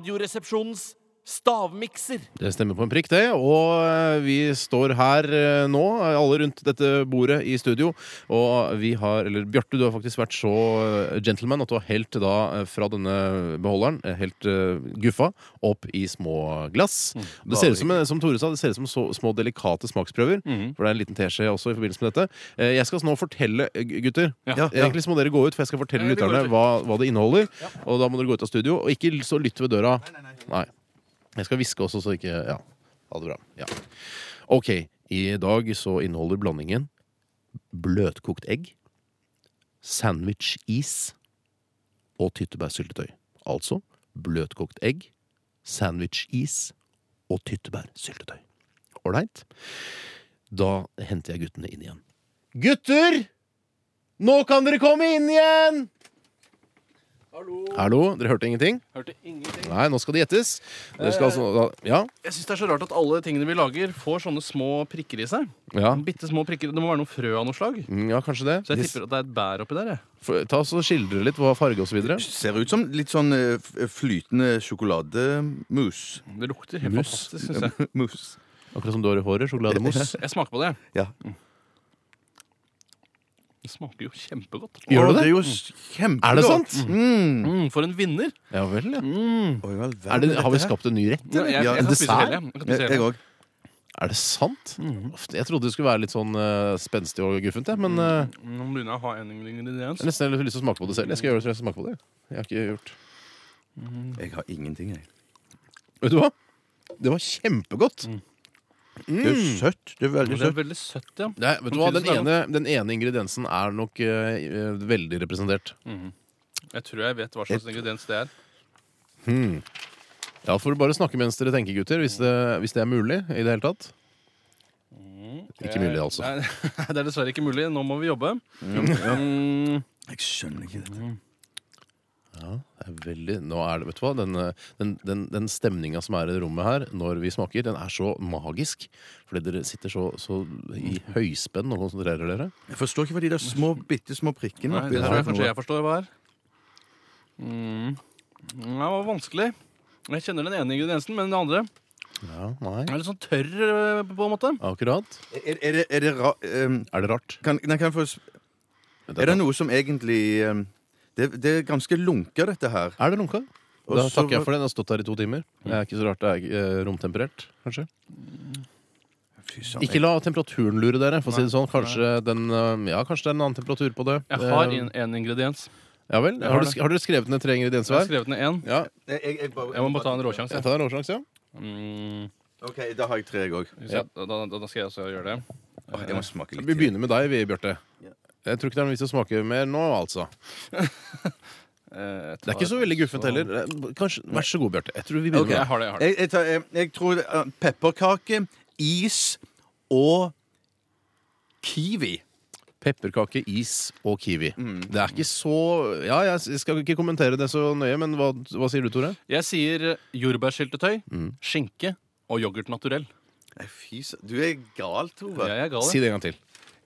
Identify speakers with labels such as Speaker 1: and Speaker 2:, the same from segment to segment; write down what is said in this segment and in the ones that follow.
Speaker 1: Radioresepsjonens stavmikser.
Speaker 2: Det stemmer på en prikk, det. Og eh, vi står her eh, nå, alle rundt dette bordet i studio. Og vi har Eller Bjarte, du har faktisk vært så eh, gentleman at du har helt da eh, fra denne beholderen, eh, helt eh, guffa, opp i små glass. Det ser ut som, eh, som Tore sa, det ser ut som så, små delikate smaksprøver. For det er en liten teskje også i forbindelse med dette. Eh, Jeg skal nå fortelle, eh, gutter
Speaker 1: Ja.
Speaker 2: Egentlig så må dere gå ut, for jeg skal fortelle
Speaker 1: Ja, vi går
Speaker 2: lytterne
Speaker 1: ut.
Speaker 2: hva, hva det inneholder. Og da må dere gå ut av studio. Og ikke så lytte ved døra. Nei. Jeg skal hviske også, så ikke Ja. Ha det bra. Ja. Ok. I dag så inneholder blandingen bløtkokt egg, sandwich-is og tyttebærsyltetøy. Altså bløtkokt egg, sandwich-is og tyttebærsyltetøy. Ålreit? Da henter jeg guttene inn igjen. Gutter! Nå kan dere komme inn igjen!
Speaker 1: Hallo.
Speaker 2: Hallo, dere hørte ingenting?
Speaker 1: Hørte ingenting.
Speaker 2: Nei, nå skal det gjettes. Dere skal altså da- Ja?
Speaker 1: Jeg syns det er så rart at alle tingene vi lager, får sånne små prikker i seg.
Speaker 2: Ja,
Speaker 1: Bitte små prikker. Det må være noe frø av noe slag.
Speaker 2: Mm, ja kanskje det.
Speaker 1: Så jeg tipper at det er et bær oppi der. jeg.
Speaker 2: F- Ta oss og Skildre litt hva farge og så videre
Speaker 3: Ser ut som litt sånn eh, f- flytende sjokolademus.
Speaker 1: Det lukter helt
Speaker 2: Mus.
Speaker 1: fantastisk, syns jeg.
Speaker 3: Mus.
Speaker 2: Akkurat som du har i håret. Sjokolademos.
Speaker 1: Jeg smaker på det. jeg.
Speaker 3: Ja.
Speaker 1: Det smaker jo kjempegodt.
Speaker 2: Gjør du
Speaker 3: Å,
Speaker 2: det?
Speaker 3: Det er jo s- kjempegodt.
Speaker 2: Er det sant?
Speaker 3: Mm.
Speaker 1: Mm, for en vinner!
Speaker 2: Ja vel, ja.
Speaker 3: Oi, vel,
Speaker 2: Er det, har vi skapt en ny rett?
Speaker 1: Jeg, jeg,
Speaker 3: Ja,
Speaker 1: jeg kan spise
Speaker 2: dessert?
Speaker 1: hele. jeg. Jeg kan spise hele.
Speaker 3: Jeg òg.
Speaker 2: Er det sant? Uff, Jeg trodde det skulle være litt sånn eh, spenstig og guffent, jeg, men eh,
Speaker 1: Nå begynner jeg å ha en ingrediens.
Speaker 2: jeg har nesten lyst til å smake på det selv. Jeg skal gjøre det så jeg skal smake på det. Jeg har ikke gjort
Speaker 3: Jeg har ingenting, jeg.
Speaker 2: Vet du hva? Det var kjempegodt.
Speaker 3: Det er jo søtt. Det er veldig
Speaker 1: Det er
Speaker 3: søtt.
Speaker 1: veldig søtt, ja.
Speaker 2: Nei, vet du hva? Den
Speaker 1: Samtidig så er
Speaker 2: ene, den ene ingrediensen er nok eh, eh, veldig representert.
Speaker 1: Jeg tror jeg vet hva slags ingrediens det er.
Speaker 2: Ja, får du bare snakke mens dere tenker, gutter, hvis det, hvis det er mulig i det hele tatt. Ikke mulig, altså.
Speaker 1: Nei, Eh, det er dessverre ikke mulig. Nå må vi jobbe. Mm.
Speaker 3: Jeg skjønner ikke dette.
Speaker 2: Det er veldig, nå er det, vet du hva, Den, eh, den, den, den stemninga som er i det rommet her når vi smaker, den er så magisk. Fordi dere sitter så, så i høyspenn og konsentrerer dere.
Speaker 3: Jeg forstår ikke hva de der små, bitte små prikkene
Speaker 1: Nei,
Speaker 3: oppi
Speaker 1: det
Speaker 3: der
Speaker 1: tror jeg
Speaker 3: er for
Speaker 1: kanskje
Speaker 3: noe.
Speaker 1: jeg forstår hva er. Mm. Det var vanskelig. Jeg kjenner den ene ingrediensen, men den andre
Speaker 2: Ja, nei.
Speaker 1: er litt sånn tørr, eh, på en måte.
Speaker 2: Akkurat.
Speaker 3: Er, er det, er det ra... ehm,
Speaker 2: Er det rart?
Speaker 3: kan, nei, kan jeg få s- Er det noe som egentlig ehm, det, det er ganske lunka, dette her.
Speaker 2: er det lunka?
Speaker 3: Og
Speaker 2: Da
Speaker 3: så-
Speaker 2: takker jeg for den. Jeg har stått her i to timer. Det er ikke så rart det er eh, romtemperert, kanskje.
Speaker 3: Fy søren.
Speaker 2: Ikke la temperaturen lure dere, for å si det sånn. Kanskje, den, eh, ja, kanskje det er en annen temperatur på det.
Speaker 1: Jeg har
Speaker 2: Eh,
Speaker 1: en, en ingrediens.
Speaker 2: Ja vel?
Speaker 1: har
Speaker 2: Har du,
Speaker 1: det.
Speaker 2: sk- har dere skrevet ned tre
Speaker 1: Jeg har
Speaker 2: ingredienser hver?
Speaker 1: skrevet ned én.
Speaker 2: Ja,
Speaker 3: Jeg, jeg, jeg bare,
Speaker 1: Jeg må bare ta en råsjanse.
Speaker 2: jeg tar en råsjanse, ja.
Speaker 1: Mm.
Speaker 3: OK, da har jeg tre, jeg òg.
Speaker 1: Skal vi se, Da, da, da skal jeg også gjøre det.
Speaker 3: Jeg må smake litt.
Speaker 2: Vi begynner med deg, vi, Bjarte.
Speaker 3: Ja.
Speaker 2: Jeg tror ikke det er noe vits i å smake mer nå, altså.
Speaker 1: Eh, jeg
Speaker 2: Det er ikke så
Speaker 1: tar-
Speaker 2: veldig guffent heller. Eh, Kanskje, Vær så god, Bjarte. Jeg tror vi
Speaker 1: Ok,
Speaker 2: begynner
Speaker 1: jeg har det. jeg har det.
Speaker 3: Jeg, jeg, tar, jeg, jeg tror eh, pepperkake, is og kiwi.
Speaker 2: med pepperkake, is og kiwi.
Speaker 1: Mm.
Speaker 2: Det er ikke så Ja, jeg s- skal ikke kommentere det så nøye, men hva, hva sier du, Tore?
Speaker 1: Jeg sier jordbærsyltetøy,
Speaker 2: Mm.
Speaker 1: skinke og yoghurt naturell.
Speaker 3: Nei, Fy søren. Du er gal, Tore.
Speaker 1: Jeg er gal.
Speaker 2: Si
Speaker 1: jeg.
Speaker 2: det en gang til.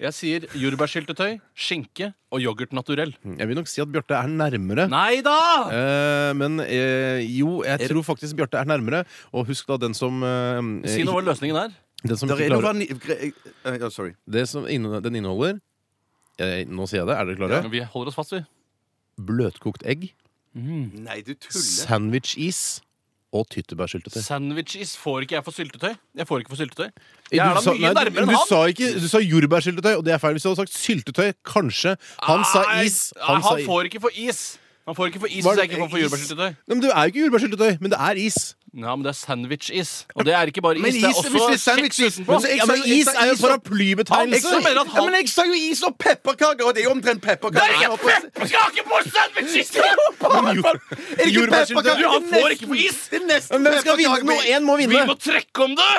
Speaker 1: Jeg sier jordbærsyltetøy, skinke og yoghurt naturell.
Speaker 2: Jeg vil nok si at Bjarte er nærmere.
Speaker 1: Nei da!
Speaker 2: Eh, men eh, jo, jeg tror faktisk Bjarte er nærmere. Og husk da den som eh,
Speaker 1: Si noe
Speaker 2: ikke-
Speaker 1: om hva løsningen er.
Speaker 2: Den som
Speaker 3: Der
Speaker 2: ikke
Speaker 3: er noe
Speaker 2: klarer
Speaker 3: vanil... gre- eh, Ja, sorry.
Speaker 2: Det som inne, den inneholder eh, Nå sier jeg det. Er dere klare?
Speaker 1: Vi holder oss fast, vi.
Speaker 2: Bløtkokt egg,
Speaker 3: Nei, du tuller.
Speaker 2: sandwich-is og tyttebærsyltetøy.
Speaker 1: Sandwiches får ikke jeg for syltetøy. Jeg får ikke for syltetøy.
Speaker 2: Du
Speaker 1: Jeg er da
Speaker 2: sa-
Speaker 1: mye
Speaker 2: nei,
Speaker 1: nærmere
Speaker 2: du,
Speaker 1: enn
Speaker 2: du
Speaker 1: han!
Speaker 2: sa ikke, du sa jordbærsyltetøy, og det er feil. Hvis du hadde sagt syltetøy, kanskje. Han sa
Speaker 1: Nei,
Speaker 2: is.
Speaker 1: Han,
Speaker 2: sa i-
Speaker 1: får ikke for is. Han får ikke for is
Speaker 2: Var
Speaker 1: hvis
Speaker 2: det
Speaker 1: jeg ikke får for
Speaker 2: is?
Speaker 1: jordbærsyltetøy.
Speaker 2: Nei, men Det er jo ikke jordbærsyltetøy, men det er is.
Speaker 1: Ja, men det er sandwich-is. Og det er ikke bare is,
Speaker 3: Men
Speaker 1: det
Speaker 3: is,
Speaker 1: er også
Speaker 3: hvis det er
Speaker 1: kjeks
Speaker 3: sandwich-is,
Speaker 1: utenpå.
Speaker 3: men så-
Speaker 2: Ja, men
Speaker 3: sa- jeg
Speaker 2: Is
Speaker 3: sa
Speaker 2: er jo
Speaker 3: is
Speaker 2: en
Speaker 1: Jeg sa-
Speaker 3: og-
Speaker 2: paraplybetegnelse!
Speaker 1: mener at han-
Speaker 3: Ja, men jeg sa jo is og pepperkake, og det er jo omtrent pepperkake.
Speaker 1: Det er ikke pepperkake på sandwich-is!
Speaker 2: Men jord-
Speaker 3: Er det ikke
Speaker 2: Jordbærsyltetøy-
Speaker 3: pepperkake?
Speaker 1: Du, han
Speaker 3: Det er
Speaker 1: får
Speaker 3: nesten-
Speaker 1: ikke på is!
Speaker 3: Det er nesten
Speaker 2: Men hvem skal vinne?
Speaker 3: pepperkake med-
Speaker 2: Noe én må
Speaker 1: Vi
Speaker 2: vinne!
Speaker 1: må trekke om det!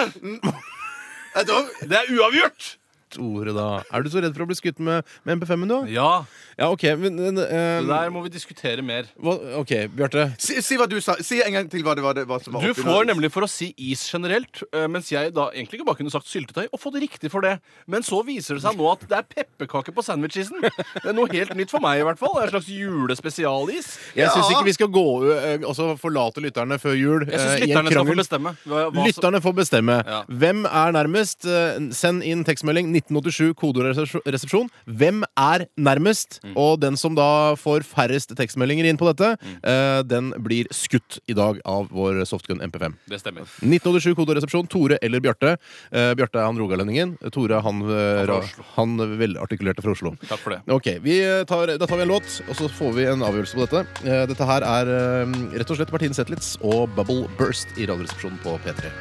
Speaker 3: Ja, da-
Speaker 1: Det er uavgjort!
Speaker 2: Tore, da. Er du så redd for å bli skutt med, med MP5-en, du?
Speaker 1: Ja,
Speaker 2: Ja, OK, men eh,
Speaker 1: det der må vi diskutere mer.
Speaker 2: hva, OK, Bjarte.
Speaker 3: Si, si hva du sa. Si en gang til hva det var, det, hva som var
Speaker 1: Du
Speaker 3: oppi
Speaker 1: får
Speaker 3: der.
Speaker 1: nemlig for å si is generelt, eh, mens jeg da egentlig ikke bare kunne sagt syltetøy og fått riktig for det. Men så viser det seg nå at det er pepperkake på sandwichisen. Det er noe helt nytt for meg i hvert fall. Det er en slags julespesialis.
Speaker 2: Jeg
Speaker 3: Ja.
Speaker 2: syns ikke vi skal gå eh, også forlate lytterne før jul.
Speaker 1: Jeg
Speaker 2: eh,
Speaker 1: syns
Speaker 2: i en
Speaker 1: lytterne skal
Speaker 2: krangel.
Speaker 1: få bestemme. Hva, hva som-
Speaker 2: Lytterne får bestemme.
Speaker 1: Ja.
Speaker 2: Hvem er nærmest? Eh, Send inn tekstmelding 1987 kodoresepsjon. Hvem er nærmest?
Speaker 1: Mm.
Speaker 2: Og den som da får færrest tekstmeldinger inn på dette,
Speaker 1: Mm.
Speaker 2: eh, den blir skutt i dag av vår softgun MP5.
Speaker 1: Det stemmer.
Speaker 2: 1987 kodoresepsjon. Tore eller Bjarte. Eh, Bjarte er han rogalendingen. Tore er han, eh,
Speaker 1: fra
Speaker 2: ra-
Speaker 1: Oslo.
Speaker 2: han velartikulerte fra Oslo.
Speaker 1: Takk for det.
Speaker 2: Ok, vi eh, tar, Da tar vi en låt, og så får vi en avgjørelse på dette. Eh, Dette her er eh, rett og slett Bertine Zetlitz og Bubble Burst i Radioresepsjonen på P3.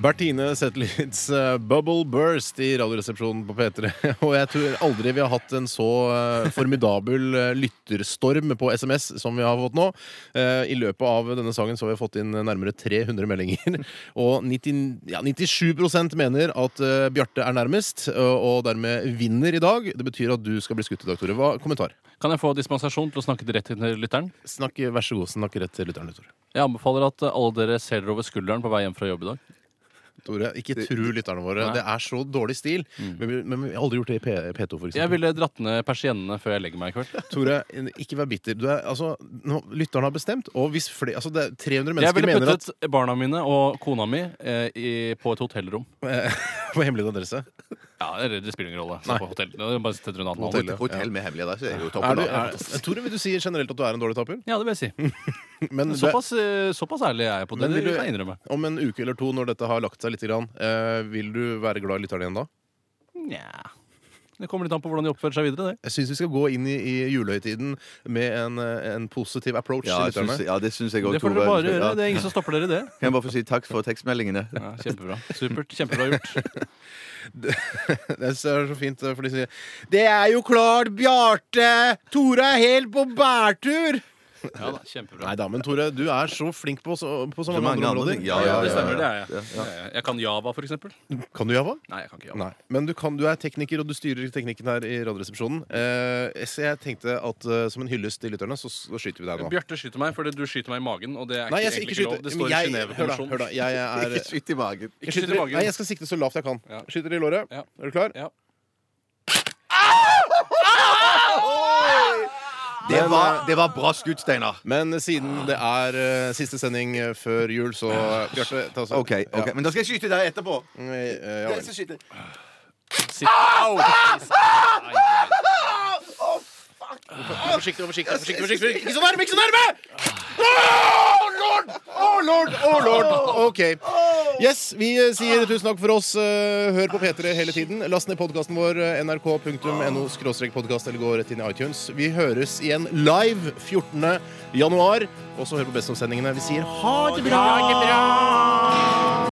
Speaker 2: Bertine Zetlitz, eh, Bubble Burst i Radioresepsjonen på P3. Og jeg tror aldri vi har hatt en så eh, formidabel eh, lytterstorm på SMS som vi har fått nå. Eh, I løpet av denne sangen så har vi fått inn nærmere 300 meldinger. Og 90, ja, 97 mener at eh, Bjarte er nærmest, eh, og dermed vinner i dag. Det betyr at du skal bli skutt i dag, Tore. Hva, kommentar?
Speaker 1: Kan jeg få dispensasjon til å snakke direkte til lytteren?
Speaker 2: Snakk, vær så god, snakk rett til lytteren, Tore.
Speaker 1: Jeg anbefaler at eh, alle dere ser dere over skulderen på vei hjem fra jobb i dag.
Speaker 2: Tore, ikke tru lytterne våre.
Speaker 1: Nei.
Speaker 2: Det er så dårlig stil. Men, vi- men vi har aldri gjort det i P, P2, for
Speaker 1: Jeg
Speaker 2: eksempel.
Speaker 1: ville dratt ned persiennene før jeg legger meg i kveld.
Speaker 2: Tore, ikke vær bitter. Du er, altså, nå, lytterne har bestemt, og hvis flere altså, det er 300
Speaker 1: Jeg
Speaker 2: mennesker
Speaker 1: ville
Speaker 2: mener at
Speaker 1: puttet barna mine og kona mi eh, i, på et hotellrom.
Speaker 2: På hemmelig adresse.
Speaker 1: Ja, det, det spiller ingen rolle. Så på hotell. Det er Bare sitte rundt natten.
Speaker 2: Hotell, ja.
Speaker 3: Hotell med hemmelige der, så er jeg jo
Speaker 2: Er
Speaker 3: toppen.
Speaker 2: du,
Speaker 3: da.
Speaker 2: er, Tore, vil du si generelt at du er en dårlig taper?
Speaker 1: Ja, det vil jeg si.
Speaker 2: Men du er-
Speaker 1: Såpass, eh, såpass ærlig er jeg på det.
Speaker 2: Men vil
Speaker 1: det
Speaker 2: du-
Speaker 1: kan jeg innrømme.
Speaker 2: om en uke eller to, når dette har lagt seg litt, grann, eh, vil du være glad i lytterne igjen da?
Speaker 1: Nja Det kommer litt an på hvordan de oppfører seg videre. det
Speaker 2: Jeg syns vi skal gå inn i, i julehøytiden med en, eh, en positiv approach
Speaker 3: Ja, jeg
Speaker 2: til lytterne.
Speaker 3: syns- ja, det syns jeg òg,
Speaker 1: Det får dere bare gjøre. Det er ingen som stopper dere i det.
Speaker 3: Kan jeg bare få si takk for tekstmeldingene?
Speaker 1: Ja, kjempebra. Supert. Kjempebra gjort.
Speaker 2: Det er så fint, eh, for de sier Det er jo klart, Bjarte! Tore er helt på bærtur!
Speaker 1: Ja da, kjempebra.
Speaker 2: Nei da, men Tore, du er så flink på så, på så
Speaker 3: Så
Speaker 2: mange
Speaker 3: mange
Speaker 2: andre
Speaker 3: andre
Speaker 2: områder.
Speaker 3: ting.
Speaker 1: Ja, ja, det stemmer. Det
Speaker 3: ja,
Speaker 1: er jeg. Ja, ja. Jeg kan Java, for eksempel.
Speaker 2: Kan du java?
Speaker 1: Nei, jeg kan ikke Java.
Speaker 2: Nei. Men du, kan, du er tekniker, og du styrer teknikken her i Radioresepsjonen. Eh, så jeg tenkte at eh, som en hyllest til lytterne, så, så skyter vi deg nå.
Speaker 1: Bjarte skyter meg fordi du skyter meg i magen, og det er
Speaker 2: Nei, jeg
Speaker 1: ikke
Speaker 2: skal ikke
Speaker 1: egentlig ikke lov.
Speaker 2: skyte.
Speaker 1: Det står
Speaker 2: Men
Speaker 1: i
Speaker 2: jeg, hør da, hør
Speaker 1: Genévekonvensjonen.
Speaker 2: da. Jeg er
Speaker 3: Ikke skyt i magen.
Speaker 1: Ikke skyt i magen.
Speaker 2: Nei, jeg skal sikte så lavt jeg kan.
Speaker 1: Ja.
Speaker 2: Skyter i låret.
Speaker 1: Ja.
Speaker 2: Er du klar?
Speaker 1: Ja.
Speaker 3: Det var, det var bra skutt, Steinar.
Speaker 2: Men siden det er eh, siste sending eh, før jul, så
Speaker 1: Ah.
Speaker 2: eh, Bjarte, ta oss
Speaker 3: Ok, ok,
Speaker 2: Ja.
Speaker 3: Men da skal jeg skyte deg etterpå.
Speaker 2: Mm, eh, ja
Speaker 3: Jeg
Speaker 2: vel.
Speaker 3: skal skyte.
Speaker 1: Sitt- Au! Ai, ai, ai.
Speaker 2: Forsiktig, forsiktig, forsiktig, forsiktig. Ikke så nærme, ikke så nærme! Åh, lord! Åh, lord! Åh, lord! OK. Yes, vi eh, sier tusen takk for oss. Eh, Hør på P3 hele tiden. Last ned podkasten vår eh, nrk.no podkast eller gå rett inn i iTunes. Vi høres igjen live 14. januar. Og så hør på Best om sendingene. Vi sier ha det bra!